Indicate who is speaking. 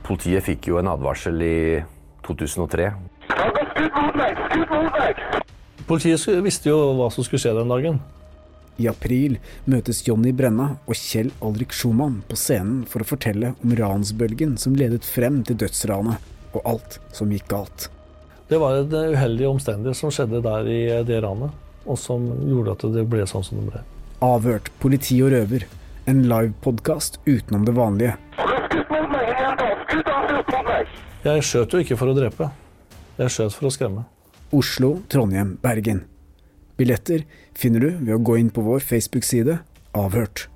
Speaker 1: Politiet fikk jo en advarsel i 2003.
Speaker 2: Skudd mot meg! Skudd mot meg!
Speaker 3: Politiet sk- visste jo hva som skulle skje den dagen.
Speaker 4: I april møtes Jonny Brenna og Kjell Alrik Schumann på scenen for å fortelle om ransbølgen som ledet frem til dødsranet, og alt som gikk galt.
Speaker 3: Det var en uheldig omstendighet som skjedde der i eh, det ranet, og som gjorde at det ble sånn som det ble.
Speaker 4: Avhørt politi og røver. En livepodkast utenom det vanlige.
Speaker 2: Skudd mot meg! Jeg gjentar, skudd avfyrt mot meg!
Speaker 3: Jeg skjøt jo ikke for å drepe. Jeg skjøt for å skremme.
Speaker 4: Oslo, Trondheim, Bergen. Billetter finner du ved å gå inn på vår Facebook-side Avhørt.